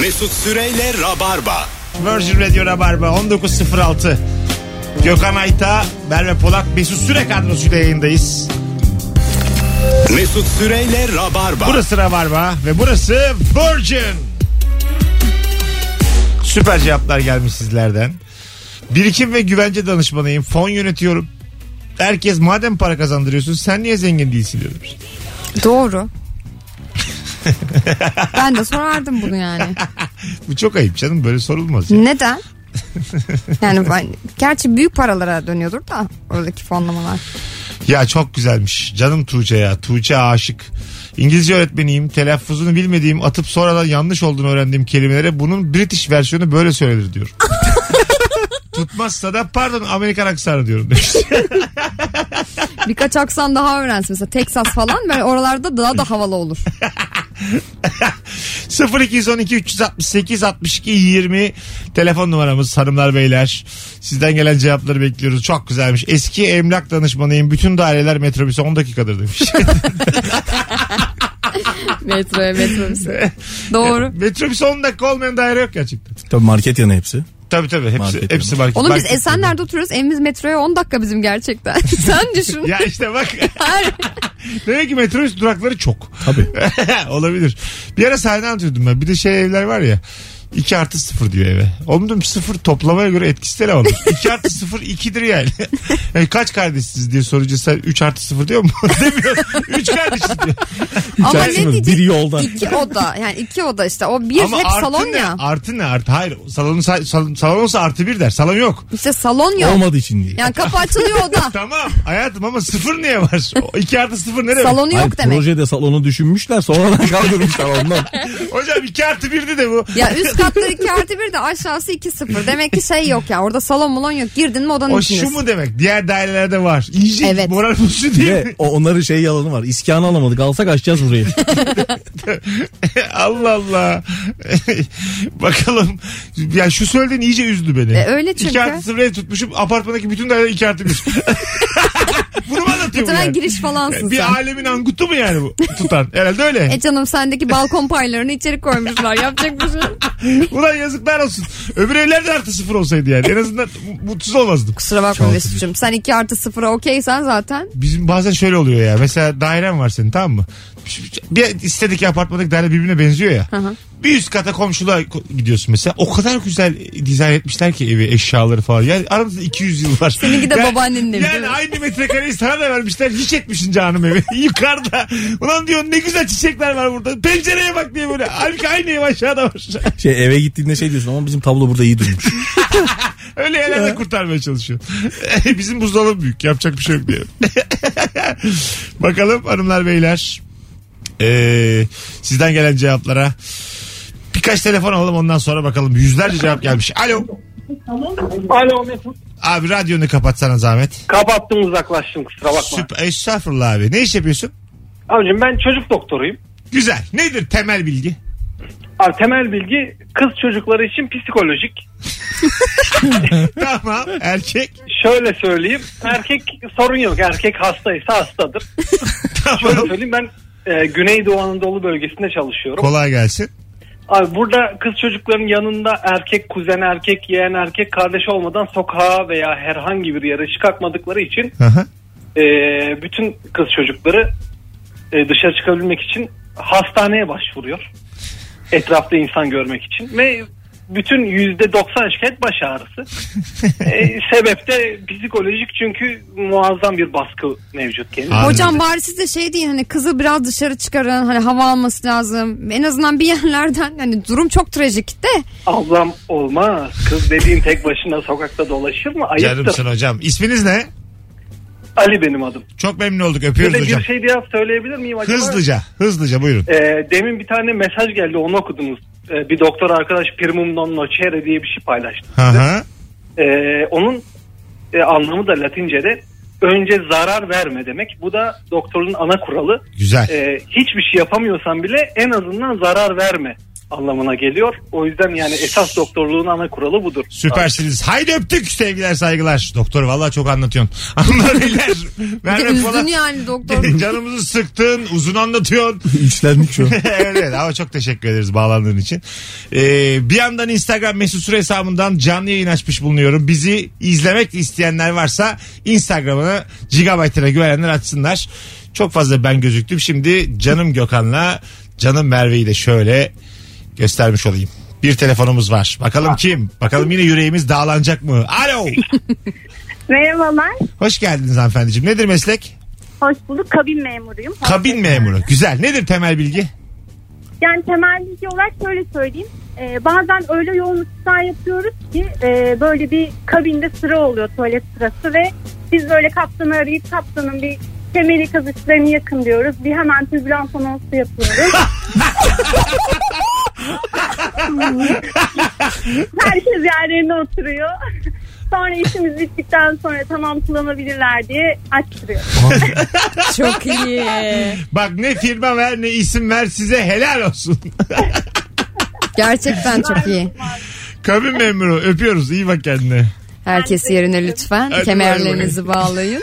Mesut Süreyle Rabarba. Virgin Radio Rabarba 19.06 Gökhan Ayta, Merve Polat, Mesut Süre kadrosuyla yayındayız. Mesut Süreyle Rabarba. Burası Rabarba ve burası Virgin. Süper cevaplar gelmiş sizlerden. Birikim ve güvence danışmanıyım. Fon yönetiyorum. Herkes madem para kazandırıyorsun sen niye zengin değilsin diyor. demiş. Doğru. ben de sorardım bunu yani. Bu çok ayıp canım böyle sorulmaz. ya. Neden? Yani ben, gerçi büyük paralara dönüyordur da oradaki fonlamalar. Ya çok güzelmiş. Canım Tuğçe ya. Tuğçe aşık. İngilizce öğretmeniyim. Telaffuzunu bilmediğim atıp sonradan yanlış olduğunu öğrendiğim kelimelere bunun British versiyonu böyle söylenir diyor. Tutmazsa da pardon Amerikan aksanı diyorum demiş. Birkaç aksan daha öğrensin mesela Texas falan böyle oralarda daha da havalı olur. 0212 368 62 20 telefon numaramız hanımlar beyler. Sizden gelen cevapları bekliyoruz. Çok güzelmiş. Eski emlak danışmanıyım. Bütün daireler metrobüse 10 dakikadır demiş. Metroya metrobüse. Doğru. metrobüse 10 dakika olmayan daire yok gerçekten. Tabii market yanı hepsi. Tabii tabii hepsi Market hepsi market. Oğlum biz Market- Esenler'de oturuyoruz. Evimiz metroya 10 dakika bizim gerçekten. Sen düşün. Ya işte bak. Demek ki metrobüs durakları çok. Tabii. Olabilir. Bir ara sahne anlatıyordum ben. Bir de şey evler var ya. 2 artı 0 diyor eve. Oğlum dedim 0 toplamaya göre etkisi de ne olur? 2 artı 0 2'dir yani. yani. Kaç kardeşsiniz diye sorunca sen 3 artı 0 diyor mu? Demiyor. 3 kardeşiz diyor. Ama ne İçerisinde diyecek? bir yolda. İki oda. Yani iki oda işte. O bir hep artı salon ne? ya. Artı ne? Artı, hayır. Salon, salon, salon olsa artı 1 der. Salon yok. İşte salon yok. Olmadığı için değil. Yani kapı açılıyor oda. Tamam hayatım ama 0 niye var? 2 artı 0 ne demek? Salonu Hayır, yok demek. Projede salonu düşünmüşler sonradan kaldırmışlar ondan. Hocam 2 artı 1'di de bu. Ya üst katları 2 artı 1 de aşağısı 2 0. Demek ki şey yok ya orada salon mulon yok. Girdin mi odanın O şu içindesin. mu demek? Diğer dairelerde var. İyice Evet. moral bozucu değil mi? Ve o, onların şey yalanı var. İskanı alamadık alsak açacağız burayı. Allah Allah. Bakalım. Ya şu söylediğin iyice üzdü beni. E, öyle çünkü. 2 artı 0 ev tutmuşum. Apartmandaki bütün daireler 2 artı 1. Bunu mu anlatıyor bu Muhtemelen yani? giriş falansın Bir sen. alemin angutu mu yani bu tutan? Herhalde öyle. E canım sendeki balkon paylarını içeri koymuşlar. Yapacak bir şey. yok. Ulan yazıklar olsun. Öbür evlerde artı sıfır olsaydı yani. En azından mutsuz olmazdım. Kusura bakma Mesut'cum. Sen 2 artı 0'a okeysen zaten. Bizim bazen şöyle oluyor ya. Mesela dairen var senin tamam mı? Bir istedik ki apartmandaki daire birbirine benziyor ya. Bir üst kata komşuluğa ko- gidiyorsun mesela. O kadar güzel dizayn etmişler ki evi eşyaları falan. Yani aramızda 200 yıl var. Seninki de Ya- babaannenin evi, değil Yani mi? aynı metrekareyi sana da vermişler. Hiç etmişsin canım evi. Yukarıda. Ulan diyor ne güzel çiçekler var burada. Pencereye bak diye böyle. Halbuki aynı ev aşağıda var. Şey eve gittiğinde şey diyorsun ama bizim tablo burada iyi durmuş. Öyle yerlerde kurtarmaya çalışıyor. Bizim buzdolabı büyük. Yapacak bir şey yok diye. Bakalım hanımlar beyler. Ee, sizden gelen cevaplara birkaç telefon alalım ondan sonra bakalım. Yüzlerce cevap gelmiş. Alo. Alo Mesut. Abi radyonu kapatsana zahmet. Kapattım uzaklaştım kusura bakma. Süper. Estağfurullah abi. Ne iş yapıyorsun? Abicim ben çocuk doktoruyum. Güzel. Nedir temel bilgi? Abi temel bilgi kız çocukları için psikolojik. tamam. Erkek. Şöyle söyleyeyim. Erkek sorun yok. Erkek hastaysa hastadır. Şöyle Tamam. söyleyeyim ben e, Güneydoğu Anadolu bölgesinde çalışıyorum. Kolay gelsin. Abi burada kız çocukların yanında erkek kuzen, erkek yeğen, erkek kardeş olmadan sokağa veya herhangi bir yere çıkartmadıkları için Hı hı. e, bütün kız çocukları e, dışarı çıkabilmek için hastaneye başvuruyor. Etrafta insan görmek için ve bütün yüzde 90 şikayet baş ağrısı. E, sebep de psikolojik çünkü muazzam bir baskı mevcut kendine. Anladım. Hocam bari siz de şey deyin hani kızı biraz dışarı çıkarın. Hani hava alması lazım. En azından bir yerlerden hani durum çok trajik de. Ablam olmaz. Kız dediğin tek başına sokakta dolaşır mı? Ayıptır. Canımsın hocam. İsminiz ne? Ali benim adım. Çok memnun olduk. Bir de Öpüyoruz hocam. bir şey daha söyleyebilir miyim acaba? Hızlıca. Hızlıca buyurun. E, demin bir tane mesaj geldi onu okudunuz. E, bir doktor arkadaş primum non nocere diye bir şey paylaştı. Hı hı. Ee, onun e, anlamı da Latince'de önce zarar verme demek. Bu da doktorun ana kuralı. Güzel. Ee, hiçbir şey yapamıyorsan bile en azından zarar verme anlamına geliyor. O yüzden yani esas doktorluğun ana kuralı budur. Süpersiniz. Haydi öptük sevgiler saygılar. Doktor valla çok anlatıyorsun. Anlar neler. Bir de Vermek üzdün falan. yani doktor. Canımızı sıktın. Uzun anlatıyorsun. İçlendik şu an. evet, evet ama çok teşekkür ederiz bağlandığın için. Ee, bir yandan Instagram mesut süre hesabından canlı yayın açmış bulunuyorum. Bizi izlemek isteyenler varsa Instagram'ını gigabyte'ına güvenenler açsınlar. Çok fazla ben gözüktüm. Şimdi canım Gökhan'la canım Merve'yi de şöyle göstermiş olayım. Bir telefonumuz var. Bakalım kim? Bakalım yine yüreğimiz dağlanacak mı? Alo. Merhabalar. Hoş geldiniz hanımefendiciğim. Nedir meslek? Hoş bulduk. Kabin memuruyum. Kabin memuru. Güzel. Nedir temel bilgi? Yani temel bilgi olarak şöyle söyleyeyim. Ee, bazen öyle yoğunluklar yapıyoruz ki e, böyle bir kabinde sıra oluyor tuvalet sırası ve biz böyle kaptanı arayıp kaptanın bir kemeri kazıklarını yakın diyoruz. Bir hemen türbülans anonsu yapıyoruz. Herkes yerlerine oturuyor. Sonra işimiz bittikten sonra tamam kullanabilirler diye açtırıyor. çok iyi. Bak ne firma ver ne isim ver size helal olsun. Gerçekten çok iyi. Kabin memuru öpüyoruz iyi bak kendine. Herkes yerine lütfen. Hadi Kemerlerinizi bağlayın.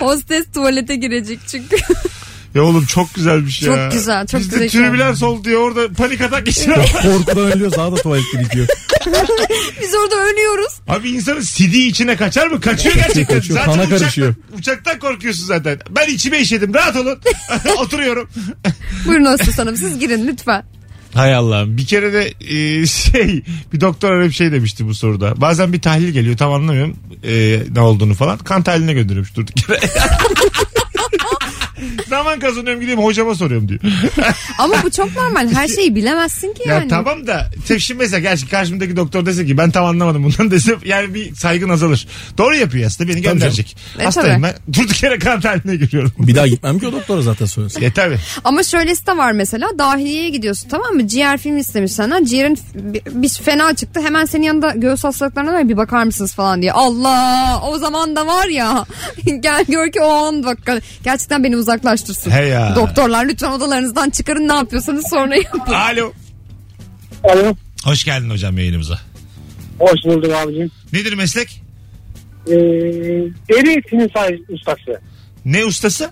Hostes tuvalete girecek çünkü. Ya oğlum çok güzelmiş ya. Çok güzel, çok Bizde güzel. türbülans oldu diye orada panik atak geçiriyor. Çok korkudan ölüyor sağda tuvalet birikiyor. Biz orada ölüyoruz. Abi insanın CD içine kaçar mı? Kaçıyor gerçekten. Kaçıyor, zaten kana uçaktan, karışıyor. uçaktan korkuyorsun zaten. Ben içime işedim rahat olun. Oturuyorum. Buyurun hostes hanım siz girin lütfen. Hay Allah'ım. Bir kere de e, şey bir doktor öyle bir şey demişti bu soruda. Bazen bir tahlil geliyor tam anlamıyorum e, ne olduğunu falan. Kan tahliline gönderiyormuş durduk yere. Zaman kazanıyorum gideyim hocama soruyorum diyor. Ama bu çok normal. Her şeyi bilemezsin ki Ya yani. tamam da tepşin mesela gerçi karşımdaki doktor dese ki ben tam anlamadım bundan dese yani bir saygın azalır. Doğru yapıyor aslında beni gönderecek. E, Hastayım tabii. ben. Durduk yere kan tahliline giriyorum. Bir daha gitmem ki o doktora zaten sonrası. e tabi. Ama şöylesi de var mesela dahiliyeye gidiyorsun tamam mı? Ciğer film istemiş senden. Ciğerin f- bir, bir fena çıktı. Hemen senin yanında göğüs hastalıklarına da bir bakar mısınız falan diye. Allah o zaman da var ya. Gel gör ki o an bak. Gerçekten beni uzaklaştırsın. He ya. Doktorlar lütfen odalarınızdan çıkarın ne yapıyorsanız sonra yapın. Alo. Alo. Hoş geldin hocam yayınımıza. Hoş bulduk abicim. Nedir meslek? Ee, deri finisaj ustası. Ne ustası?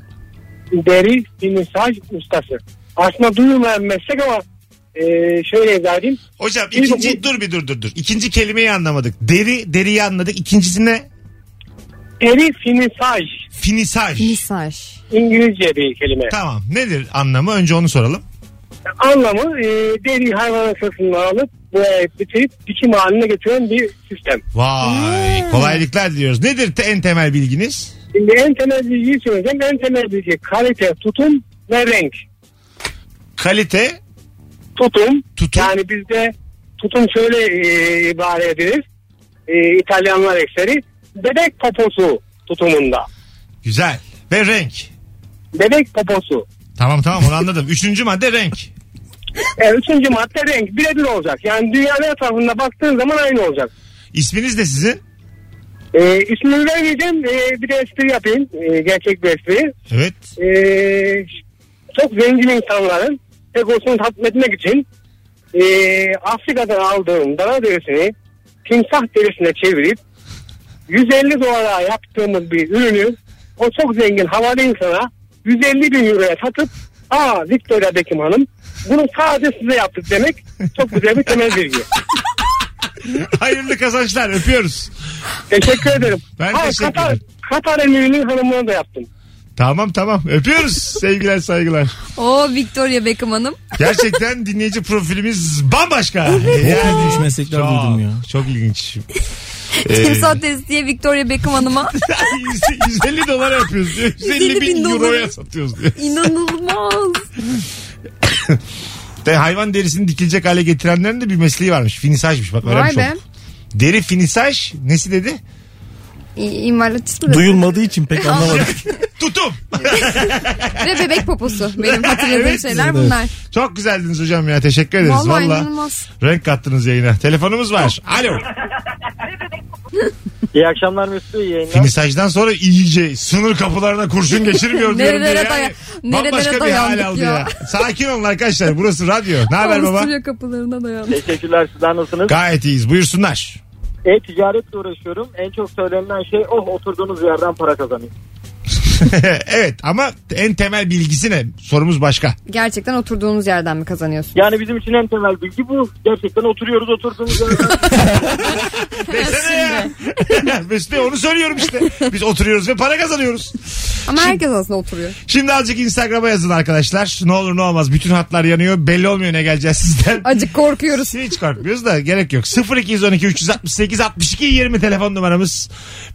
Deri finisaj ustası. Aslında duyulmayan meslek ama e, şöyle izah edeyim. Hocam Bir- ikinci dur bir dur dur dur. İkinci kelimeyi anlamadık. Deri deriyi anladık. İkincisi ne? Deri finisaj. Finisaj. Misaj. İngilizce bir kelime. Tamam. Nedir anlamı? Önce onu soralım. Anlamı e, deri hayvan sırtından alıp boyayıp bitirip dikim haline getiren bir sistem. Vay. Hmm. Kolaylıklar diliyoruz. Nedir te- en temel bilginiz? Şimdi en temel bilgiyi söyleyeceğim. En temel bilgi kalite, tutum ve renk. Kalite, Tutum. tutum. Yani bizde tutum şöyle e, ibare edilir. E, İtalyanlar ekseri. Bebek poposu tutumunda. Güzel. Ve renk. Bebek poposu. Tamam tamam onu anladım. Üçüncü madde renk. E, üçüncü madde renk. Birebir olacak. Yani dünyanın etrafında baktığın zaman aynı olacak. İsminiz de sizin. E, ismini vermeyeceğim. E, bir de espri yapayım. E, gerçek bir espri. Evet. E, çok zengin insanların egosunu tatmin etmek için e, Afrika'dan aldığım dana derisini timsah derisine çevirip 150 dolara yaptığımız bir ürünü o çok zengin havalı insana 150 bin euroya satıp aa Victoria Beckham Hanım bunu sadece size yaptık demek çok güzel bir temel bilgi. Hayırlı kazançlar öpüyoruz. Teşekkür ederim. Ben teşekkür Katar, ederim. Katar emirinin hanımına da yaptım. Tamam tamam öpüyoruz. Sevgiler saygılar. O Victoria Beckham Hanım. Gerçekten dinleyici profilimiz bambaşka. Çok ilginç meslekler duydum ya. Çok, çok ilginç. Ee, Timsah testi diye Victoria Beckham Hanım'a. 150 dolar yapıyoruz diyor. 150 150 bin bin euroya dolara. satıyoruz diyor. İnanılmaz. De hayvan derisini dikilecek hale getirenlerin de bir mesleği varmış. Finisajmış bak öğrenmiş Vay be. olduk. Deri finisaj nesi dedi? İ- İmalatçısı da- Duyulmadığı için pek anlamadık. Tutum. Ve bebek poposu. Benim hatırladığım Evet. şeyler Evet. bunlar. Çok güzeldiniz hocam ya teşekkür ederiz. Vallahi Vallahi inanılmaz. renk kattınız yayına. Telefonumuz var. Alo. İyi akşamlar Mesut Bey, iyi yayınlar. Finisajdan sonra iyice sınır kapılarına kurşun geçirmiyor diyorum. Nerelere yani. daya- nerelere Bambaşka bir dayandık hal aldı ya. ya. Sakin olun arkadaşlar burası radyo. Ne haber baba? Avusturya kapılarına dayandı. Teşekkürler sizler nasılsınız? Gayet iyiyiz buyursunlar. E-ticaretle uğraşıyorum. En çok söylenilen şey oh oturduğunuz yerden para kazanayım. evet ama en temel bilgisi ne? Sorumuz başka. Gerçekten oturduğunuz yerden mi kazanıyorsun? Yani bizim için en temel bilgi bu. Gerçekten oturuyoruz oturduğumuz yerden. Desene ya. Mesut Bey onu söylüyorum işte. Biz oturuyoruz ve para kazanıyoruz. Ama şey- herkes aslında oturuyor. Şimdi azıcık Instagram'a yazın arkadaşlar. Ne olur ne olmaz. Bütün hatlar yanıyor. Belli olmuyor ne geleceğiz sizden. Acık korkuyoruz. Hiç korkmuyoruz da gerek yok. 0212 368 62 20 telefon numaramız.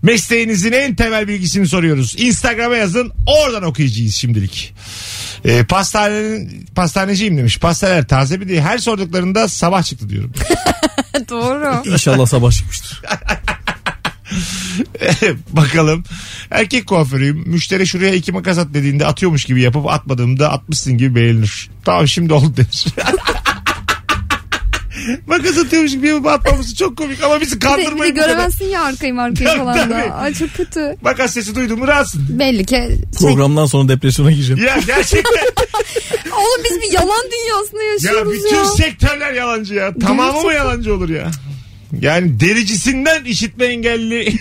Mesleğinizin en temel bilgisini soruyoruz. Instagram'a yazın. Oradan okuyacağız şimdilik. Ee, pastanenin, pastaneciyim demiş. Pastaneler taze mi diye. Her sorduklarında sabah çıktı diyorum. Doğru. İnşallah sabah Şey- çıkmıştır. Bakalım. Erkek kuaförüyüm. Müşteri şuraya iki makas at dediğinde atıyormuş gibi yapıp atmadığımda atmışsın gibi beğenilir. Tamam şimdi oldu demiş. makas atıyormuş gibi yapıp atmaması çok komik ama bizi Bir de, bir de kandırmayın. bu kadar. göremezsin ya arkayı markayı Tabii, falan da. tabii. Ay çok kötü. Makas sesi duydum mu rahatsın. Belli ki şey, Programdan sonra depresyona gireceğim. Ya gerçekten Oğlum biz bir yalan dünyasında ya yaşıyoruz ya. bütün sektörler yalancı ya. Tamamı mı Gerçekten. yalancı olur ya? Yani dericisinden işitme engelli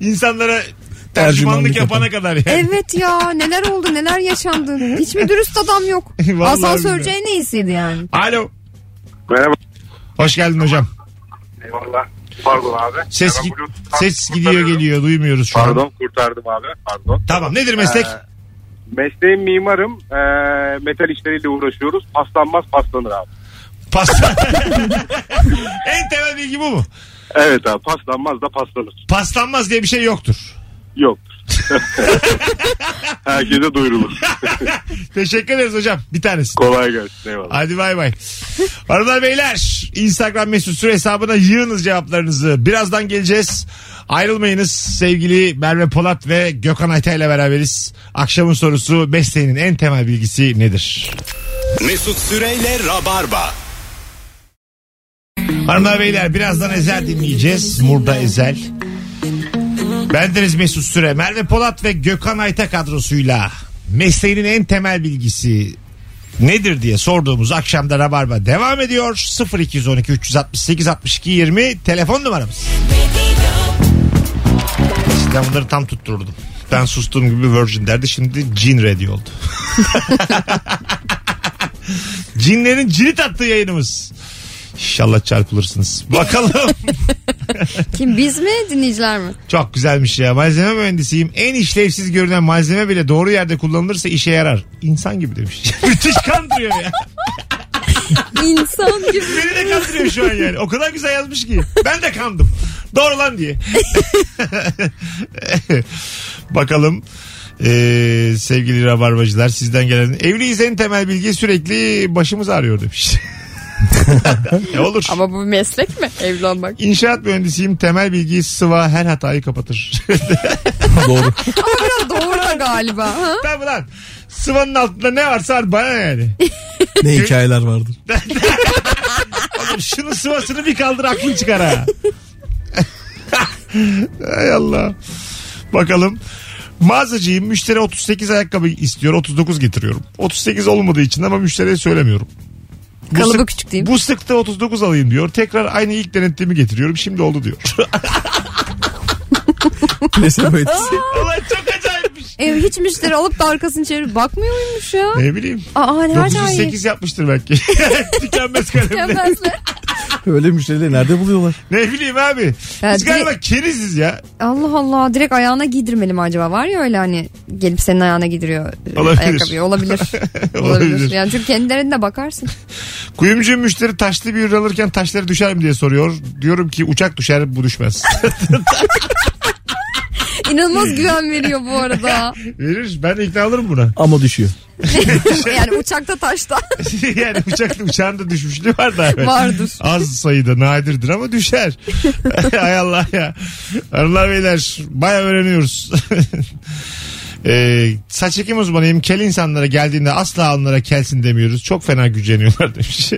insanlara tercümanlık Tercümanlık yapana yapan. kadar yani. Evet ya neler oldu neler yaşandı. Hiç mi dürüst adam yok. Vallahi Asansörcü billahi. en iyisiydi yani. Alo. Merhaba. Hoş geldin hocam. Eyvallah. Pardon abi. Ses, Merhaba, git- Bluetooth'tan ses gidiyor kurtarıyorum. geliyor duymuyoruz şu an. Pardon kurtardım abi. Pardon. Tamam nedir meslek? Ee, mesleğim mimarım. Ee, metal işleriyle uğraşıyoruz. Paslanmaz paslanır abi. Pasta. en temel bilgi bu mu? Evet abi paslanmaz da paslanır. Paslanmaz diye bir şey yoktur. Yoktur. Herkese duyurulur. Teşekkür ederiz hocam. Bir tanesi. Kolay gelsin eyvallah. Hadi bay bay. Hanımlar beyler Instagram mesut süre hesabına yığınız cevaplarınızı. Birazdan geleceğiz. Ayrılmayınız sevgili Merve Polat ve Gökhan Ayta ile beraberiz. Akşamın sorusu mesleğinin en temel bilgisi nedir? Mesut Süreyle Rabarba. Hanımlar beyler birazdan Ezel dinleyeceğiz. Murda Ezel. Bendeniz Mesut Süre, Merve Polat ve Gökhan Ayta kadrosuyla mesleğinin en temel bilgisi nedir diye sorduğumuz akşamda Rabarba devam ediyor. 0212 368 62 20 telefon numaramız. Eskiden bunları tam tutturdum. Ben sustuğum gibi Virgin derdi şimdi Cin Radio oldu. Cinlerin cirit attığı yayınımız. İnşallah çarpılırsınız. Bakalım. Kim biz mi dinleyiciler mi? Çok güzelmiş ya. Malzeme mühendisiyim. En işlevsiz görünen malzeme bile doğru yerde kullanılırsa işe yarar. İnsan gibi demiş. Müthiş kandırıyor ya. İnsan gibi. Beni de kandırıyor şu an yani. O kadar güzel yazmış ki. Ben de kandım. Doğru lan diye. Bakalım ee, sevgili rabarbacılar sizden gelen evliyiz en temel bilgi sürekli başımız ağrıyor demiş. e olur. Ama bu meslek mi evlenmek? İnşaat mühendisiyim temel bilgi sıva her hatayı kapatır. Doğru. Biraz doğru da galiba. Ha? Tabii lan. Sıvanın altında ne varsa al bana yani. Ne hikayeler vardır. Oğlum şunun sıvasını bir kaldır aklın çıkar ha. Hay Allah. Bakalım. Mağazacıyım. Müşteri 38 ayakkabı istiyor. 39 getiriyorum. 38 olmadığı için ama müşteriye söylemiyorum. Bu Kalıbı sık- küçük değil mi? Bu sıktı 39 alayım diyor. Tekrar aynı ilk denettiğimi getiriyorum. Şimdi oldu diyor. Plasebo etkisi. Ulan çok acayipmiş. E, hiç müşteri alıp da arkasını çevirip bakmıyor muymuş ya? Ne bileyim. Aa nereden iyi? 908 yapmıştır belki. Tükenmez kalemle. Tükenmezler. Öyle müşterileri nerede buluyorlar? Ne bileyim abi. Ya Biz galiba keriziz ya. Allah Allah direkt ayağına giydirmeli mi acaba? Var ya öyle hani gelip senin ayağına giydiriyor e, Olabilir. ayakkabıyı. Olabilir. Olabilir. Olabilir. Yani çünkü kendilerine bakarsın. Kuyumcu müşteri taşlı bir ürün alırken taşları düşer mi diye soruyor. Diyorum ki uçak düşer bu düşmez. İnanılmaz güven veriyor bu arada. Verir ben de ikna alırım buna. Ama düşüyor. şey- yani uçakta taşta yani uçak, uçağın da düşmüşlüğü var da. evet. vardır. Az sayıda nadirdir ama düşer. Hay Allah ya. Hanımlar beyler baya öğreniyoruz. Ee, saç ekim uzmanıyım. Kel insanlara geldiğinde asla alınlara kelsin demiyoruz. Çok fena güceniyorlar demiş.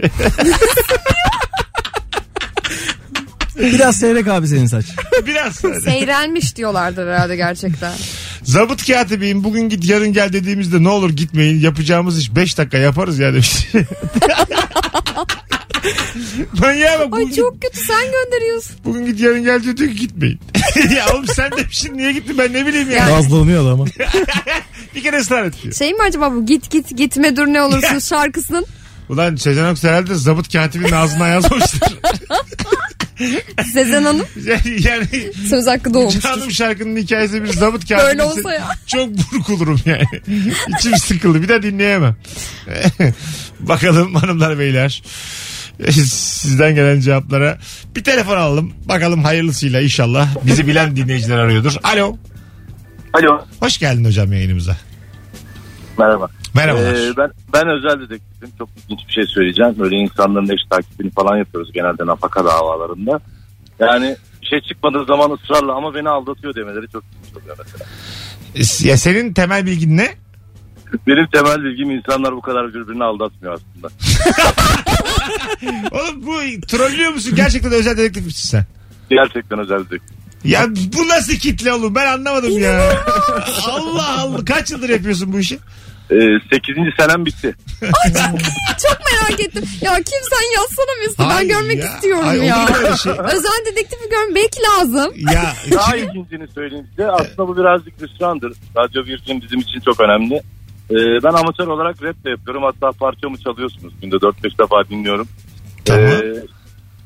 Biraz seyrek abi senin saç. Biraz. Seyrelmiş diyorlardır herhalde gerçekten. Zabıt katibiyim bugün git yarın gel dediğimizde ne olur gitmeyin yapacağımız iş 5 dakika yaparız ya demiş. Manyağa bak bugün, Ay çok kötü sen gönderiyorsun. git, bugün git yarın gel diyor, diyor ki gitmeyin. ya oğlum sen demişsin niye gittin ben ne bileyim ya. Nazlanıyor da ama. Bir kere ısrar et diyor. Şey mi acaba bu git git gitme dur ne olursun şarkısının Ulan Sezen Aksu herhalde zabıt katibinin ağzına yazmıştır. Sezen Hanım yani, yani söz hakkı doğmuştur. canım şarkının hikayesi bir zabıt katibi. Böyle olsa ya. Çok buruk olurum yani. İçim sıkıldı. Bir daha dinleyemem. Bakalım hanımlar beyler. Sizden gelen cevaplara bir telefon alalım. Bakalım hayırlısıyla inşallah. Bizi bilen dinleyiciler arıyordur. Alo. Alo. Hoş geldin hocam yayınımıza. Merhaba. Merhabalar. Ee, ben ben özel dedektifim. Çok ilginç bir şey söyleyeceğim. Böyle insanların eş takibini falan yapıyoruz genelde nafaka davalarında. Yani şey çıkmadığı zaman ısrarla ama beni aldatıyor demeleri çok ilginç oluyor mesela. Ya senin temel bilgin ne? Benim temel bilgim insanlar bu kadar birbirini aldatmıyor aslında. Oğlum bu trollüyor musun? Gerçekten özel dedektif misin sen? Gerçekten özel dedektif. Ya bu nasıl kitle oğlum ben anlamadım ya. Allah Allah kaç yıldır yapıyorsun bu işi? Ee, 8. senem bitti. Çok merak ettim. Ya kimsen yazsana Mesut'u ben Hayır görmek ya. istiyorum Ay, olur ya. mu öyle şey? Özel dedektifi görmek belki lazım. Ya Daha ilgincini söyleyeyim size. Aslında bu birazcık hüsrandır. Radyo Virgin bizim için çok önemli. Ee, ben amatör olarak rap de yapıyorum. Hatta parçamı çalıyorsunuz. Günde 4-5 defa dinliyorum. Tamam. Ee,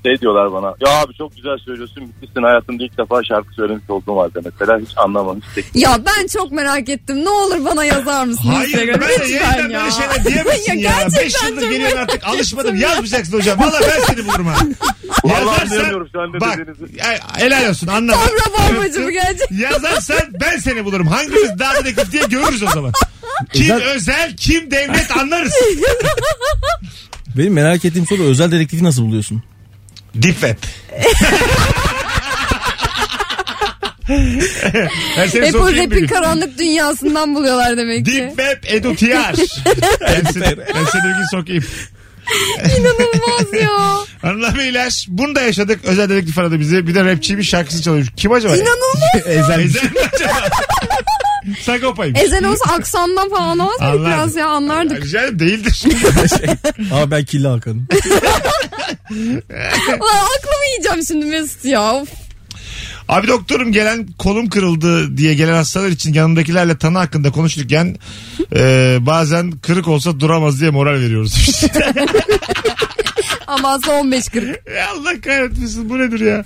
şey diyorlar bana. Ya abi çok güzel söylüyorsun. Bitmişsin hayatımda ilk defa şarkı söylemiş olduğum halde. Mesela hiç anlamamış. Ya ben çok merak ettim. Ne olur bana yazar mısın? Hayır ben Instagram'a? şey de yeniden Lütfen ya. böyle şeyler diyemezsin Ya ya. 5 gerçekten yıldır çok geliyorsun merak artık alışmadım. ettim ya. Yazmayacaksın hocam. Valla ben seni bulurum ha. Vallahi Yazarsan- anlayamıyorum şu an ne Bak dediğinizi. ya, helal olsun anladım. Tam rabarbacı mı gelecek? Yazarsan ben seni bulurum. Hangimiz daha dedektif diye görürüz o zaman. Kim Özel- özel kim devlet anlarız. Benim merak ettiğim soru özel dedektifi nasıl buluyorsun? Deep web. Her seni Hep o sokayım bir rapin gün. karanlık dünyasından buluyorlar demek Deep ki. Web Edu Tiyar. ben seni, ben seni bir gün sokayım. İnanılmaz ya. Hanımlar beyler bunu da yaşadık. Özel dedektif aradı bizi. Bir de rapçiymiş şarkısı çalıyor. Kim acaba? ya? İnanılmaz. Ezel. Ezel mi acaba? Sagopa'ymış. Ezel olsa aksandan falan olmaz mı Anlardık. biraz ya anlardık. Rica ederim değildir. Ama ben kirli Hakan'ım. Ulan aklımı yiyeceğim şimdi Mesut ya. Of. Abi doktorum gelen kolum kırıldı diye gelen hastalar için yanındakilerle tanı hakkında konuşurken e, bazen kırık olsa duramaz diye moral veriyoruz. Ama aslında 15 40. Ya Allah kahretmesin bu nedir ya?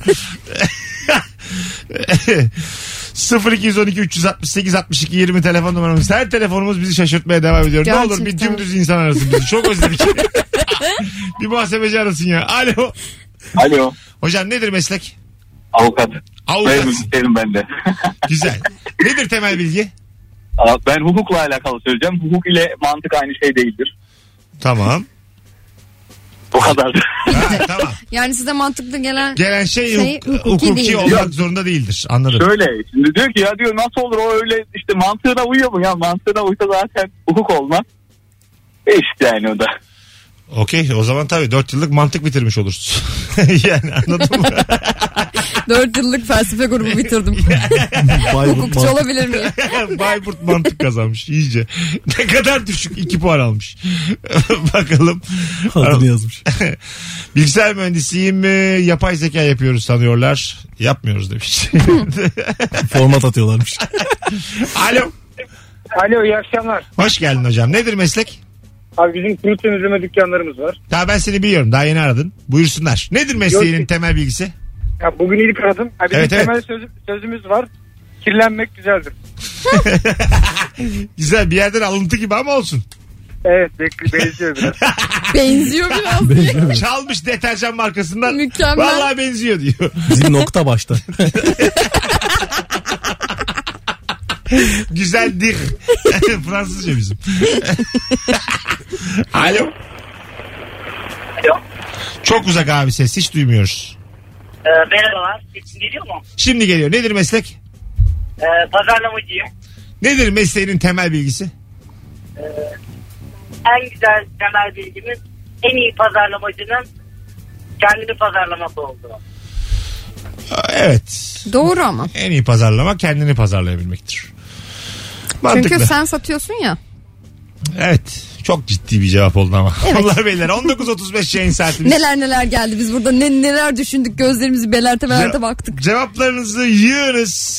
0212 368 62 20 telefon numaramız. Her telefonumuz bizi şaşırtmaya devam ediyor. Ne olur bir Gerçekten. dümdüz insan arasın bizi. Çok özledik. bir muhasebeci arasın ya. Alo. Alo. Hocam nedir meslek? Avukat. Avukat. ben de. Güzel. Nedir temel bilgi? ben hukukla alakalı söyleyeceğim. Hukuk ile mantık aynı şey değildir. Tamam. O kadar. Ha, tamam. Yani size mantıklı gelen Gelen şey, Şey, huk- hukuki hukuki, değildir. olmak zorunda değildir. Anladım. Şöyle şimdi diyor ki ya diyor nasıl olur o öyle işte mantığına uyuyor mu ya mantığına uysa zaten hukuk olmaz. E işte yani o da. Okey o zaman tabii 4 yıllık mantık bitirmiş olursun. yani anladın mı? 4 yıllık felsefe grubu bitirdim. Bayburt Hukukçu mantık. olabilir miyim? Bayburt mantık kazanmış iyice. Ne kadar düşük 2 puan almış. Bakalım. Adını yazmış. Bilgisayar mühendisiyim mi? Yapay zeka yapıyoruz sanıyorlar. Yapmıyoruz demiş. Format atıyorlarmış. Alo. Alo iyi akşamlar. Hoş geldin hocam. Nedir meslek? Abi bizim kuru temizleme dükkanlarımız var. Daha ben seni biliyorum. Daha yeni aradın. Buyursunlar. Nedir mesleğinin Yok. temel bilgisi? Ya bugün ilk aradım. Ya bizim Evet, evet. temel sözü- sözümüz var. Kirlenmek güzeldir. Güzel bir yerden alıntı gibi ama olsun. Evet bekli benziyor biraz. Benziyor biraz. Benziyor. Çalmış deterjan markasından. Mükemmel. Vallahi benziyor diyor. Bizim nokta başta. Güzeldir. Fransızca bizim. Alo. Çok uzak abi ses hiç duymuyoruz. Ee, merhabalar. Sesim geliyor mu? Şimdi geliyor. Nedir meslek? Ee, pazarlamacıyım. Nedir mesleğinin temel bilgisi? En güzel temel bilgimiz en iyi pazarlamacının kendini pazarlaması oldu. Evet. Doğru ama. En iyi pazarlama kendini pazarlayabilmektir. Mantıklı. Çünkü sen satıyorsun ya. Evet. Çok ciddi bir cevap oldu ama. Evet. Allah beyler 19.35 yayın saatimiz. Neler neler geldi biz burada ne, neler düşündük gözlerimizi belerte belerte baktık. Cevaplarınızı yığınız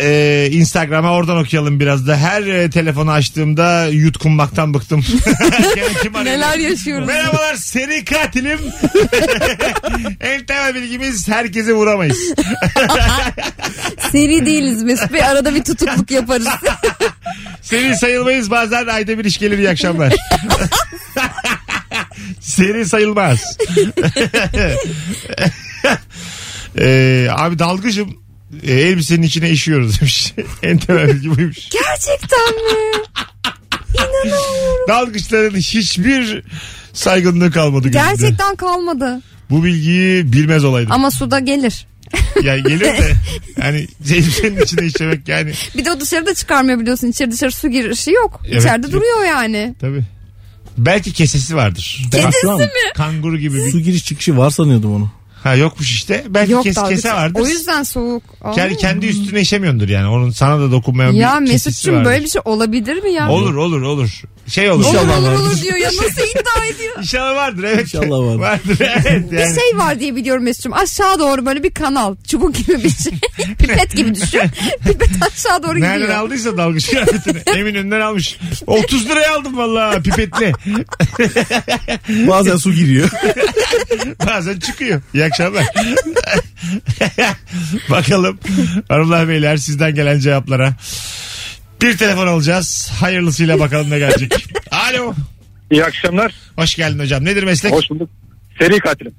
Ee, Instagram'a oradan okuyalım biraz da. Her e, telefonu açtığımda yutkunmaktan bıktım. Gene kim arıyor? Neler yaşıyoruz. Merhabalar seri katilim. en temel bilgimiz herkese vuramayız. Seri değiliz Mesut Bey arada bir tutukluk yaparız. Seri sayılmayız bazen ayda bir iş gelir iyi akşamlar. seri sayılmaz. Ee, abi dalgıcım e, elbisenin içine işiyoruz demiş. en temel bilgi buymuş. Gerçekten mi? Dalgıçların hiçbir saygınlığı kalmadı gözümde. Gerçekten kalmadı. Bu bilgiyi bilmez olaydım. Ama suda gelir. Yani gelir de yani elbisenin içine işlemek yani. Bir de o dışarıda çıkarmıyor biliyorsun. İçeri dışarı su girişi yok. Evet, İçeride yok. duruyor yani. Tabii. Belki kesesi vardır. Ben şu an Kanguru gibi bir su giriş çıkışı var sanıyordum onu. Ha yokmuş işte. Belki Yok kes, dalga- kese vardır. O yüzden soğuk. Aa. Yani kendi üstüne işemiyordur yani. Onun sana da dokunmayan ya bir kesesi Mesut'cum vardır. böyle bir şey olabilir mi ya? Olur olur olur. Şey olur. Olur İnşallah olur vardır. olur diyor ya nasıl iddia ediyor? İnşallah vardır evet. İnşallah vardır. vardır evet. Yani. Bir şey var diye biliyorum Mesut'cum. Aşağı doğru böyle bir kanal. Çubuk gibi bir şey. Pipet gibi düşün. Pipet aşağı doğru Nereden gidiyor. aldıysa dalgıç kıyafetini. Eminönü'nden almış. 30 liraya aldım valla pipetli. Bazen su giriyor. Bazen çıkıyor. İyi akşamlar. Bakalım hanımlar beyler sizden gelen cevaplara. Bir telefon alacağız. Hayırlısıyla bakalım ne gelecek. Alo. İyi akşamlar. Hoş geldin hocam. Nedir meslek? Hoş bulduk. Seri katilim.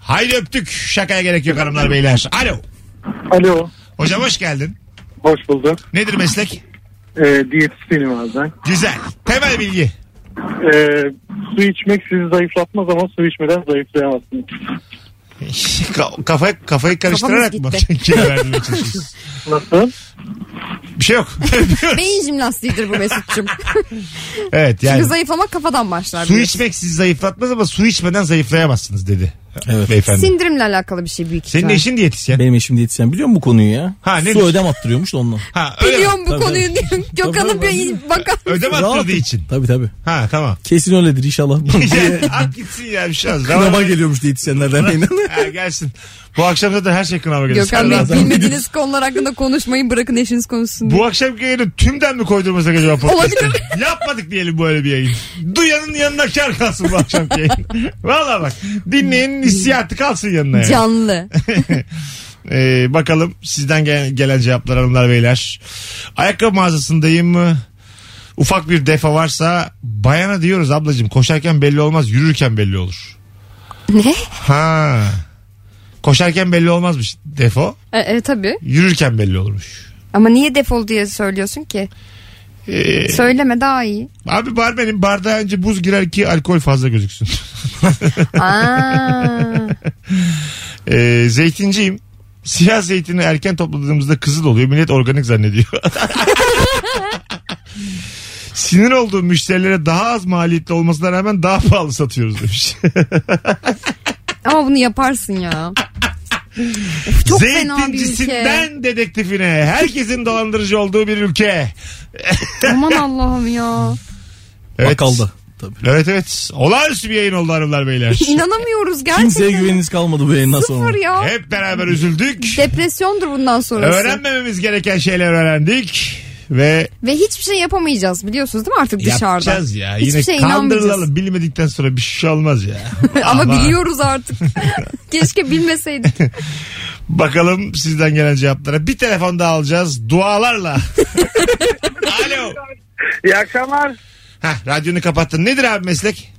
Haydi öptük. Şakaya gerek yok hanımlar beyler. Alo. Alo. Hocam hoş geldin. Hoş bulduk. Nedir meslek? Ee, diyetisyenim abi ben. Güzel. Temel bilgi. Ee, su içmek sizi zayıflatmaz ama su içmeden zayıflayamazsınız. Ka- Kafayı, kafayı karıştırarak mı? Kafamız Kilo vermeye çalışıyorsun? Nasıl? Bir şey yok. Beyin jimnastiğidir bu Mesut'cum. evet Çünkü yani. zayıflamak kafadan başlar. Su biliyorsun. içmek sizi zayıflatmaz ama su içmeden zayıflayamazsınız dedi. Evet. Beyefendi. Sindirimle alakalı bir şey büyük Senin ihtimal. de işin diyetisyen. Benim eşim diyetisyen biliyor musun bu konuyu ya? Ha, ne su diyorsun? ödem attırıyormuş da onunla. Ha, öyle mi? Biliyorum bu Tabii, konuyu tabii. diyorum. Gökhan'ın Tabii, bir bakar. Ödem Rahat. attırdığı için. Tabii tabii. Ha tamam. Kesin öyledir inşallah. Yani, at gitsin ya bir şey olmaz. Kınama geliyormuş diyetisyenlerden birinin. Ha, gelsin. Bu akşam zaten her şey kınama geliyor. Gökhan Sen Bey lazım. bilmediğiniz konular hakkında konuşmayın bırakın eşiniz konuşsun. diye. Bu akşamki yayını tümden mi koydurmasak acaba podcast'ı? Olabilir. Yapmadık diyelim böyle bir yayın. Duyanın yanına kar kalsın bu akşamki yayın. Valla bak dinleyenin hissiyatı kalsın yanına. Yani. Canlı. Ee, bakalım sizden gelen, gelen cevaplar hanımlar beyler. Ayakkabı mağazasındayım mı? Ufak bir defa varsa bayana diyoruz ablacığım koşarken belli olmaz yürürken belli olur. ne? Ha. Koşarken belli olmazmış defo. E, e, tabii. Yürürken belli olurmuş. Ama niye defol diye söylüyorsun ki? Ee, Söyleme daha iyi. abi barmenin bardağa önce buz girer ki alkol fazla gözüksün. Aa, Ee, zeytinciyim. Siyah zeytini erken topladığımızda kızıl oluyor. Millet organik zannediyor. Sinir olduğum müşterilere daha az maliyetli olmasına rağmen daha pahalı satıyoruz demiş. ama bunu yaparsın ya. Of, çok fena bir ülke. Zeytincisinden dedektifine herkesin dolandırıcı olduğu bir ülke. Aman Allah'ım ya. Evet. Bakalda. Tabii. Evet evet. Olağanüstü bir yayın oldu hanımlar beyler. İnanamıyorum gerçekten. Kimseye güveniniz kalmadı bu yayından Sıfır sonra. ya. Hep beraber üzüldük. Depresyondur bundan sonrası. Öğrenmememiz gereken şeyler öğrendik. Ve Ve hiçbir şey yapamayacağız biliyorsunuz değil mi artık dışarıda? Yapacağız ya. Hiçbir Yine şeye inanmayacağız. kandırılalım. Bilmedikten sonra bir şey olmaz ya. Ama biliyoruz artık. Keşke bilmeseydik. Bakalım sizden gelen cevaplara. Bir telefon daha alacağız. Dualarla. Alo. İyi akşamlar. Heh, radyonu kapattın. Nedir abi meslek?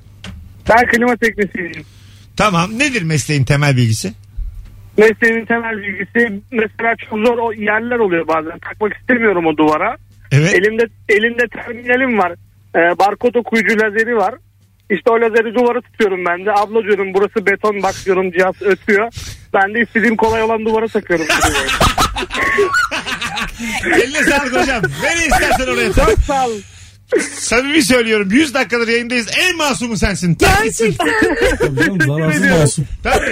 Ben klima teknisyeniyim. Tamam. Nedir mesleğin temel bilgisi? Mesleğimin temel bilgisi mesela çok zor o yerler oluyor bazen. Takmak istemiyorum o duvara. Evet. Elimde elimde terminalim var. Ee, barkod okuyucu lazeri var. İşte o lazeri duvara tutuyorum ben de. Abla diyorum burası beton bak diyorum cihaz ötüyor. Ben de istediğim kolay olan duvara takıyorum. Eline sağlık hocam. Nereye istersen oraya tak. Çok sağ olun. Samimi söylüyorum. 100 dakikadır yayındayız. En masumu sensin. Tak gitsin. Gerçekten. Tabii canım, Zararsız masum. Tabii.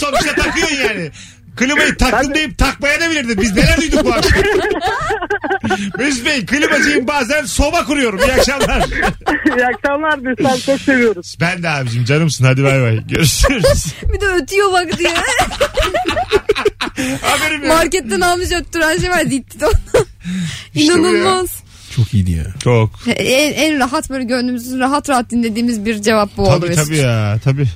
Sonuçta takıyorsun yani. Klimayı taktım deyip takmaya da bilirdi. Biz neler duyduk bu akşam? Mesut Bey klimacıyım bazen soba kuruyorum. İyi akşamlar. İyi akşamlar Mesut çok seviyoruz. ben de abicim canımsın hadi bay bay. Görüşürüz. Bir de ötüyor bak diye. Haberim yok. Marketten almış öttüren şey var. Dit dit İşte bu ya. İnanılmaz. Çok iyiydi ya. Çok. En, en rahat böyle gönlümüzü rahat rahat dinlediğimiz bir cevap bu oldu. Tabii Mesut. tabii ya tabii.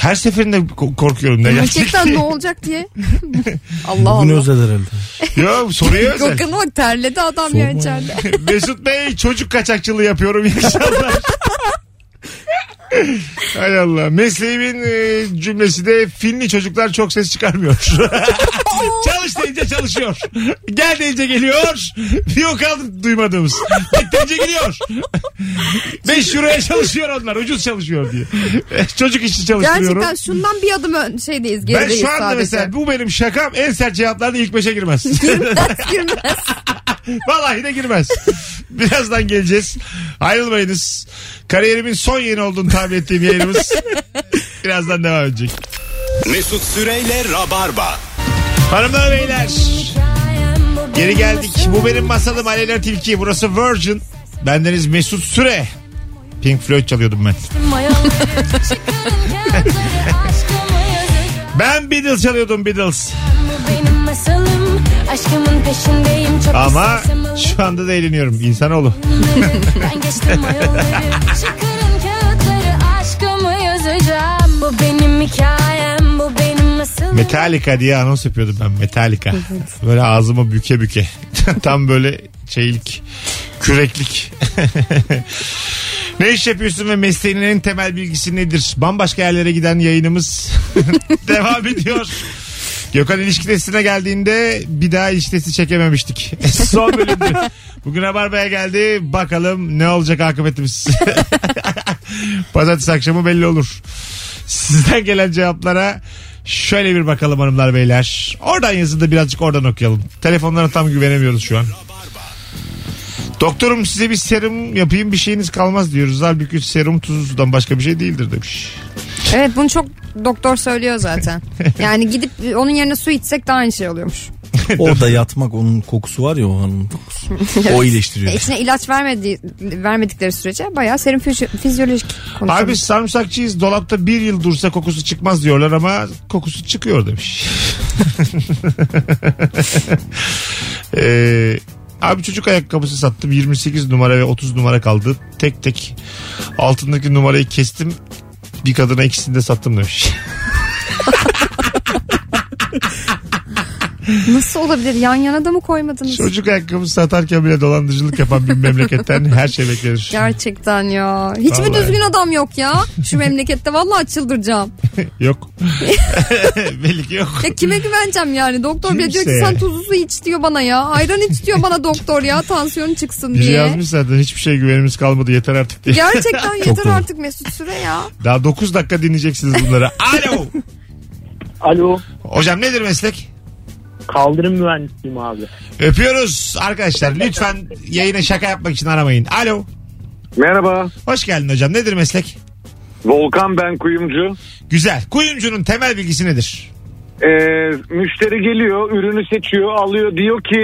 Her seferinde ko- korkuyorum ne Gerçekten ne olacak diye. Allah Bunu Allah. özel herhalde. Yok soruyu özel. Gökhan'a bak terledi adam Sorma ya ya. içeride. Mesut Bey çocuk kaçakçılığı yapıyorum iyi akşamlar. Hay Allah. Mesleğimin e, cümlesi de Finli çocuklar çok ses çıkarmıyor. Çalış deyince çalışıyor. Gel deyince geliyor. Yok kaldı duymadığımız. Git deyince gidiyor. 5 euroya çalışıyor onlar. Ucuz çalışıyor diye. Çocuk işçi çalıştırıyorum. Gerçekten şundan bir adım ön, şeydeyiz ben gerideyiz şu anda sadece. mesela bu benim şakam en sert cevaplarda ilk beşe girmez. Girmez. Vallahi de girmez. Birazdan geleceğiz. Ayrılmayınız. Kariyerimin son yeni olduğunu tahmin ettiğim yayınımız. Birazdan devam edecek. Mesut Süreyle Rabarba. Hanımlar beyler. Geri geldik. Bu benim masalım Aleyna Tilki. Burası Virgin. Bendeniz Mesut Süre. Pink Floyd çalıyordum ben. Ben Beatles çalıyordum Beatles. Ama şu anda da eğleniyorum. İnsanoğlu. Ben geçtim ayolları Çıkarın kağıtları aşkımı yazacağım Bu benim hikayem bu benim asılım Metallica diye anons yapıyordum ben Metallica. Böyle ağzımı büke büke. Tam böyle şeylik, küreklik. ne iş yapıyorsun ve mesleğinin en temel bilgisi nedir? Bambaşka yerlere giden yayınımız devam ediyor. Gökhan ilişki testine geldiğinde bir daha ilişki testi çekememiştik. Son bölümdü. Bugün Rabarba'ya geldi. Bakalım ne olacak akıbetimiz. Pazartesi akşamı belli olur. Sizden gelen cevaplara şöyle bir bakalım hanımlar beyler. Oradan yazın da birazcık oradan okuyalım. Telefonlara tam güvenemiyoruz şu an. Doktorum size bir serum yapayım bir şeyiniz kalmaz diyoruz. Halbuki serum tuzdan başka bir şey değildir demiş. evet bunu çok doktor söylüyor zaten. Yani gidip onun yerine su içsek de aynı şey oluyormuş. Orada yatmak onun kokusu var ya o hanımın kokusu. o E, iyileştiriyor. İçine ilaç vermedi, vermedikleri sürece bayağı serum fizy- fizyolojik konuşuyor. Abi sarımsakçıyız dolapta bir yıl dursa kokusu çıkmaz diyorlar ama kokusu çıkıyor demiş. Ee, abi çocuk ayakkabısı sattım 28 numara ve 30 numara kaldı. Tek tek altındaki numarayı kestim bir kadına ikisini de sattım demiş. Nasıl olabilir? Yan yana da mı koymadınız? çocuk ayakkabısı satarken bile dolandırıcılık yapan bir memleketten her şey beklenir. Gerçekten ya. Hiç mi Vallahi. düzgün adam yok ya? Şu memlekette vallahi çıldıracağım. yok. Belli ki yok. Ya kime güveneceğim yani? Doktor bile diyor ki Kimseye. sen tuzlu su iç diyor bana ya. Ayran iç diyor bana doktor ya tansiyonu çıksın Biri diye. yazmış zaten hiçbir şey güvenimiz kalmadı yeter artık diye. Gerçekten yeter doğru. artık Mesut Süre ya. Daha 9 dakika dinleyeceksiniz bunları. Alo. Alo Hocam nedir meslek? kaldırım mühendisiyim abi. Öpüyoruz arkadaşlar. Lütfen yayına şaka yapmak için aramayın. Alo. Merhaba. Hoş geldin hocam. Nedir meslek? Volkan ben kuyumcu. Güzel. Kuyumcunun temel bilgisi nedir? Ee, müşteri geliyor, ürünü seçiyor, alıyor. Diyor ki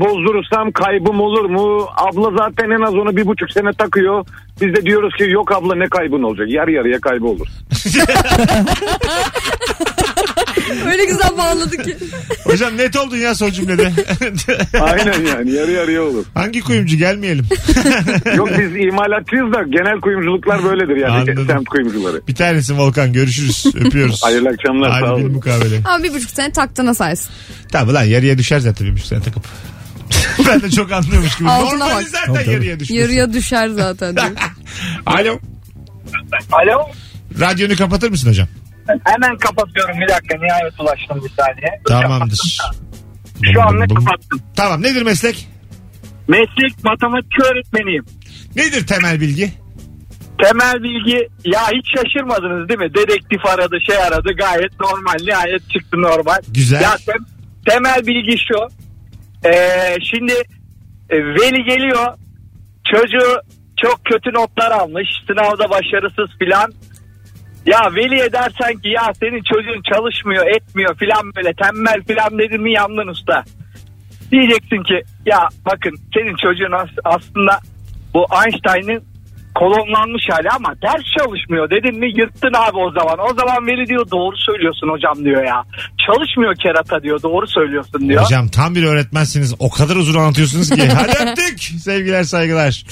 bozdurursam kaybım olur mu? Abla zaten en az onu bir buçuk sene takıyor. Biz de diyoruz ki yok abla ne kaybın olacak? Yarı yarıya kaybı olur. Öyle güzel bağladı ki. Hocam net oldun ya son cümlede. Aynen yani yarı yarıya olur. Hangi kuyumcu gelmeyelim. Yok biz imalatçıyız da genel kuyumculuklar böyledir yani Anladım. semt kuyumcuları. Bir tanesi Volkan görüşürüz. Öpüyoruz. Hayırlı akşamlar sağ Hadi bir olun. mukavele. Ama bir buçuk sene taktığına saysın. Tamam lan yarıya düşer zaten bir buçuk sene takıp. ben de çok anlıyormuş gibi. Altına Normal bak. zaten Tabii, tabii. yarıya düşmüş. Yarıya düşer zaten diyor. Alo. Alo. Radyonu kapatır mısın hocam? Hemen kapatıyorum bir dakika. Nihayet ulaştım bir saniye. Tamamdır. Şu anda kapattım. Tamam nedir meslek? Meslek matematik öğretmeniyim. Nedir temel bilgi? Temel bilgi ya hiç şaşırmadınız değil mi? Dedektif aradı şey aradı gayet normal nihayet çıktı normal. Güzel. Ya tem- temel bilgi şu. Ee, şimdi e, veli geliyor çocuğu çok kötü notlar almış sınavda başarısız filan. Ya veliye dersen ki ya senin çocuğun çalışmıyor etmiyor filan böyle tembel filan dedin mi yandın usta. Diyeceksin ki ya bakın senin çocuğun as- aslında bu Einstein'ın kolonlanmış hali ama ders çalışmıyor dedin mi yırttın abi o zaman. O zaman veli diyor doğru söylüyorsun hocam diyor ya. Çalışmıyor kerata diyor doğru söylüyorsun diyor. Hocam tam bir öğretmensiniz. O kadar uzun anlatıyorsunuz ki. Hadi öptük. Sevgiler saygılar.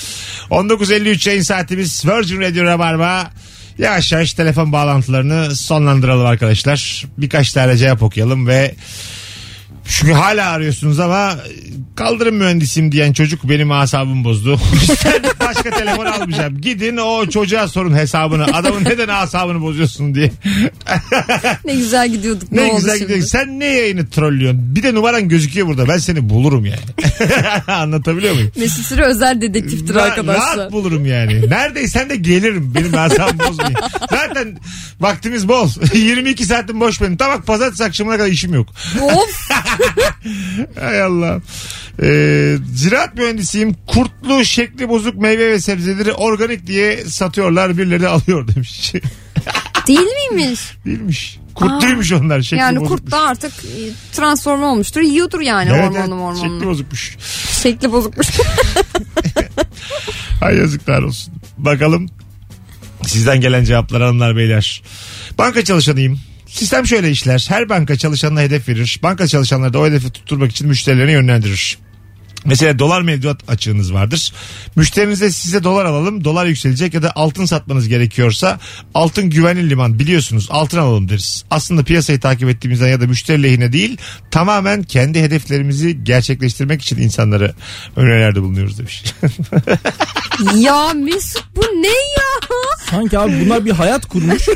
19.53 yayın saatimiz Virgin Radio Rabarba. Yavaş yavaş telefon bağlantılarını sonlandıralım arkadaşlar. Birkaç tane cevap okuyalım ve çünkü hala arıyorsunuz ama kaldırım mühendisiyim diyen çocuk benim asabım bozdu. İşte başka telefon almayacağım. Gidin o çocuğa sorun hesabını. Adamın neden asabını bozuyorsun diye. Ne güzel gidiyorduk. Ne, Ne, oldu güzel şimdi? gidiyor. Sen ne yayını trollüyorsun? Bir de numaran gözüküyor burada. Ben seni bulurum yani. Anlatabiliyor muyum? Mesut Süre özel dedektiftir Ra- arkadaşlar. Rahat bulurum yani. Neredeysen de gelirim. Benim asabım bozmayın. Zaten vaktimiz bol. 22 saatim boş benim. Tamam pazartesi akşamına kadar işim yok. of Hay Allah. Ee, ziraat mühendisiyim. Kurtlu, şekli bozuk meyve ve sebzeleri organik diye satıyorlar. Birileri de alıyor demiş. değil miymiş? Değilmiş. Kurtluymuş onlar. Şekli yani bozukmuş. kurt da artık e, transforme olmuştur. Yiyordur yani Evet, ormanı evet. ormanı. Şekli bozukmuş. Şekli bozukmuş. Ay yazıklar olsun. Bakalım sizden gelen cevaplar hanımlar beyler. Banka çalışanıyım. Sistem şöyle işler. Her banka çalışanına hedef verir. Banka çalışanları da o hedefi tutturmak için müşterilerini yönlendirir. Mesela dolar mevduat açığınız vardır. Müşteriniz de size dolar alalım, dolar yükselecek ya da altın satmanız gerekiyorsa altın güvenli liman biliyorsunuz altın alalım deriz. Aslında piyasayı takip ettiğimizden ya da müşteri lehine değil tamamen kendi hedeflerimizi gerçekleştirmek için insanlara önerilerde bulunuyoruz demiş. ya Mesut bu ne ya? Sanki abi bunlar bir hayat kurmuş.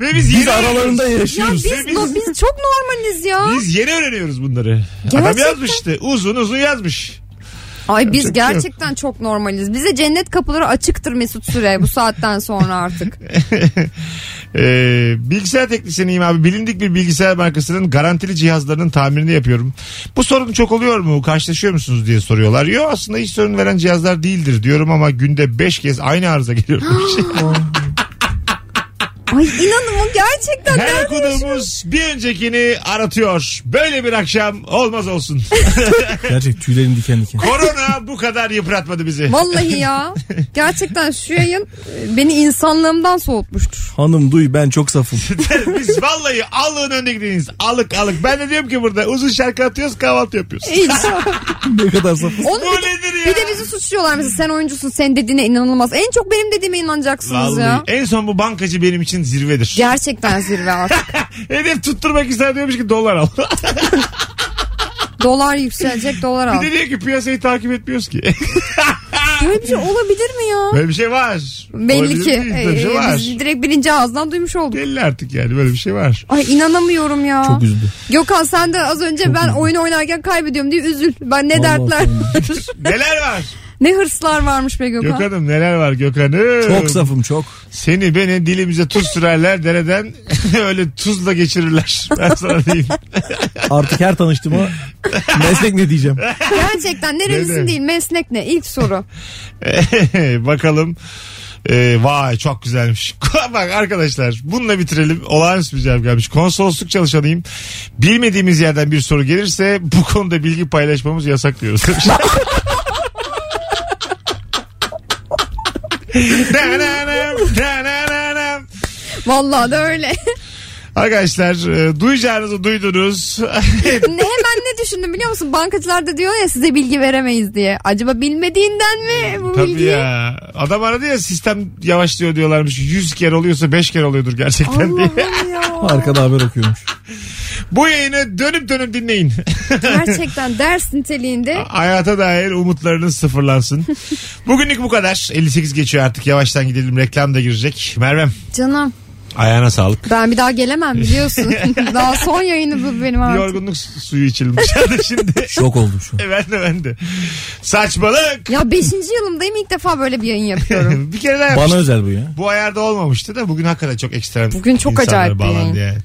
Ve biz, Biz yeni aralarında Ya yaşıyoruz. biz, Biz- no- biz çok normaliz ya. Biz yeni öğreniyoruz bunları. Adam Gerçekten. yazmış işte. Uzun uzun yazmış. Ay biz Yapacak bir şey yok. gerçekten çok normaliz. Bize cennet kapıları açıktır Mesut Süre bu saatten sonra artık. Ee, bilgisayar teknisyeniyim abi. Bilindik bir bilgisayar markasının garantili cihazlarının tamirini yapıyorum. Bu sorun çok oluyor mu? Karşılaşıyor musunuz diye soruyorlar. Yo aslında hiç sorun veren cihazlar değildir diyorum ama günde 5 kez aynı arıza geliyor. Ay inanın bu Her gerçekten nerede yaşıyor? okuduğumuz bir öncekini aratıyor. Böyle bir akşam olmaz olsun. Gerçek tüylerim diken diken. Korona bu kadar yıpratmadı bizi. Vallahi ya. Gerçekten şu yayın e, beni insanlığımdan soğutmuştur. Hanım duy ben çok safım. Biz vallahi allığın önünde gideniz. Alık alık. Ben de diyorum ki burada uzun şarkı atıyoruz kahvaltı yapıyoruz. Hiç. ne kadar safım. Onu Bu bir, de- nedir ya? bir de bizi suçluyorlar mesela sen oyuncusun senin dediğine inanılmaz. En çok benim dediğime inanacaksınız Vallahi. ya. En son bu bankacı benim için zirvedir. Gerçekten zirve artık. Hedef tutturmak ister diyormuş ki dolar al. dolar yükselecek dolar al. bir de diyor ki piyasayı takip etmiyoruz ki. Böyle bir şey olabilir mi ya? böyle bir şey var. Belli Olabilir ki. değil, Böyle bir şey e, var. biz direkt birinci ağızdan duymuş olduk. Belli artık yani böyle bir şey var. Ay inanamıyorum ya. Çok üzdü. Gökhan sen de az önce ben oyun oynarken kaybediyorum diye üzül. Ben ne Vallahi dertler. Neler var? ne hırslar varmış be Gökhan. Gökhan'ım neler var Gökhan'ım? Çok safım çok. Seni beni dilimize tuz sürerler dereden öyle tuzla geçirirler. Ben sana diyeyim. Artık her tanıştığıma meslek ne diyeceğim. Gerçekten Ne de? nerelisin değil meslek ne? İlk soru. Bakalım. Ee, vay çok güzelmiş. Bak arkadaşlar bununla bitirelim. Olağanüstü bir cevap gelmiş. Konsolosluk çalışanıyım. Bilmediğimiz yerden bir soru gelirse bu konuda bilgi paylaşmamız yasak diyoruz. demiş. Dananam, dananam. Vallahi da öyle. Arkadaşlar e, duyacağınızı duydunuz. ne, hemen ne düşündüm biliyor musun? Bankacılar da diyor ya size bilgi veremeyiz diye. Acaba bilmediğinden mi bu Tabii bilgiyi? ya. Adam aradı ya sistem yavaşlıyor diyorlarmış. 100 kere oluyorsa 5 kere oluyordur gerçekten diye. Allah'ım ya. Arkada haber okuyormuş. Bu yayını dönüp dönüp dinleyin. Gerçekten ders niteliğinde Hayata dair umutlarınız sıfırlansın. Bugünlük bu kadar. 58 geçiyor artık. Yavaştan gidelim. Reklam da girecek. Mervem canım ayağına sağlık. ben bir daha gelemem biliyorsun. daha son yayını bu benim Bir artık. yorgunluk su- suyu içilmiş. Yani şimdi Şok oldum şu an. ben de ben de. Saçmalık. Ya 5. yılımdayım ilk defa böyle bir yayın yapıyorum. bir kere daha Bana yapmıştım. özel bu ya. Bu ayarda olmamıştı da bugün hakikaten çok ekstrem. Bugün çok insanlar acayip bir bağlandı yayın. yani.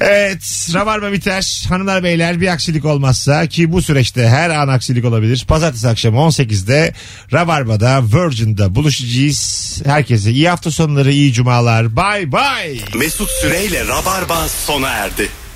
Evet Rabarba biter. Hanımlar beyler bir aksilik olmazsa ki bu süreçte her an aksilik olabilir. Pazartesi akşamı 18'de Rabarba'da Virgin'da buluşacağız. Herkese iyi hafta sonları iyi cumalar. Bay bay. Mesut Süreyle Rabarba sona erdi.